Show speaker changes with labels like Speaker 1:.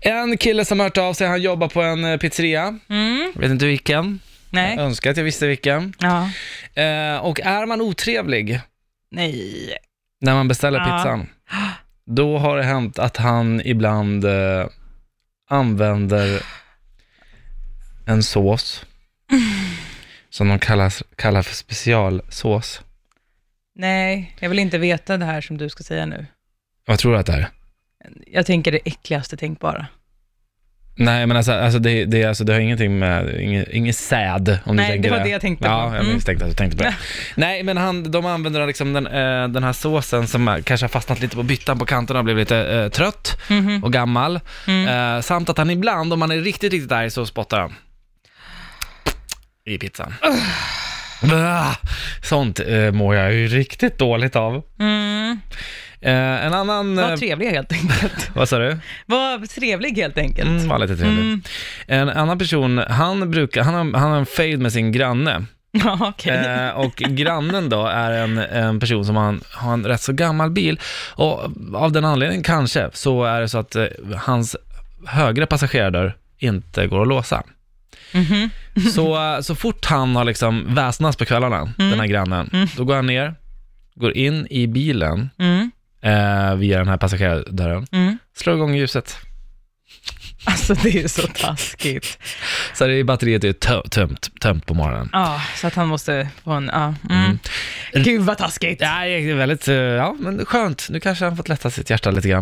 Speaker 1: En kille som har hört av sig, han jobbar på en eh, pizzeria.
Speaker 2: Mm,
Speaker 1: Jag vet inte vilken. Jag
Speaker 2: nej.
Speaker 1: önskar att jag visste vilken.
Speaker 2: Ja.
Speaker 1: Eh, och är man otrevlig
Speaker 2: Nej.
Speaker 1: när man beställer
Speaker 2: Ja.
Speaker 1: pizzan, då har det hänt att han ibland eh, använder en sås som de kallas, kallar för specialsås.
Speaker 2: Nej, jag vill inte veta det här som du ska säga nu.
Speaker 1: Vad tror du att det är?
Speaker 2: Jag tänker det äckligaste tänkbara.
Speaker 1: Nej, men alltså, alltså, det, det, alltså det har ingenting med, inget, inget säd om du
Speaker 2: Nej,
Speaker 1: tänker
Speaker 2: det var det jag tänkte på.
Speaker 1: Ja, jag
Speaker 2: Mm.
Speaker 1: misstänkte att du tänkte på det. Nej, men han, de använder liksom den, eh, den här såsen som eh, kanske har fastnat lite på byttan på kanterna och blivit lite eh, trött
Speaker 2: Mhm.
Speaker 1: och gammal.
Speaker 2: Mm.
Speaker 1: Eh, samt att han ibland, om han är riktigt, riktigt arg, så spottar han. I pizzan. Bah, Sånt eh, mår jag ju riktigt dåligt av.
Speaker 2: Mm.
Speaker 1: Eh, en annan... eh,
Speaker 2: Var trevlig helt enkelt.
Speaker 1: vad sa du?
Speaker 2: Var trevlig helt enkelt.
Speaker 1: Mm, var lite trevlig.
Speaker 2: Mm.
Speaker 1: En annan person, han, brukar, han, har, han har en fade med sin granne.
Speaker 2: Ja, okej.
Speaker 1: Eh, och grannen då är en, en person som har en, har en rätt så gammal bil. Och av den anledningen kanske, så är det så att eh, hans högra passagerardörr inte går att låsa.
Speaker 2: Mhm.
Speaker 1: Så, eh, så fort han har liksom väsnats på kvällarna,
Speaker 2: Mm.
Speaker 1: den här grannen, då går han ner, går in i bilen
Speaker 2: Mm.
Speaker 1: eh, via den här passagerardörren,
Speaker 2: Mm.
Speaker 1: slår igång ljuset.
Speaker 2: Alltså det är ju så taskigt.
Speaker 1: Så det är batteriet är tö- tömt, tömt på morgonen.
Speaker 2: Ja, så att han måste få en, ja. Mm. Gud vad taskigt.
Speaker 1: Ja, det är väldigt, eh, ja men skönt. Nu kanske han fått lätta sitt hjärta lite grann.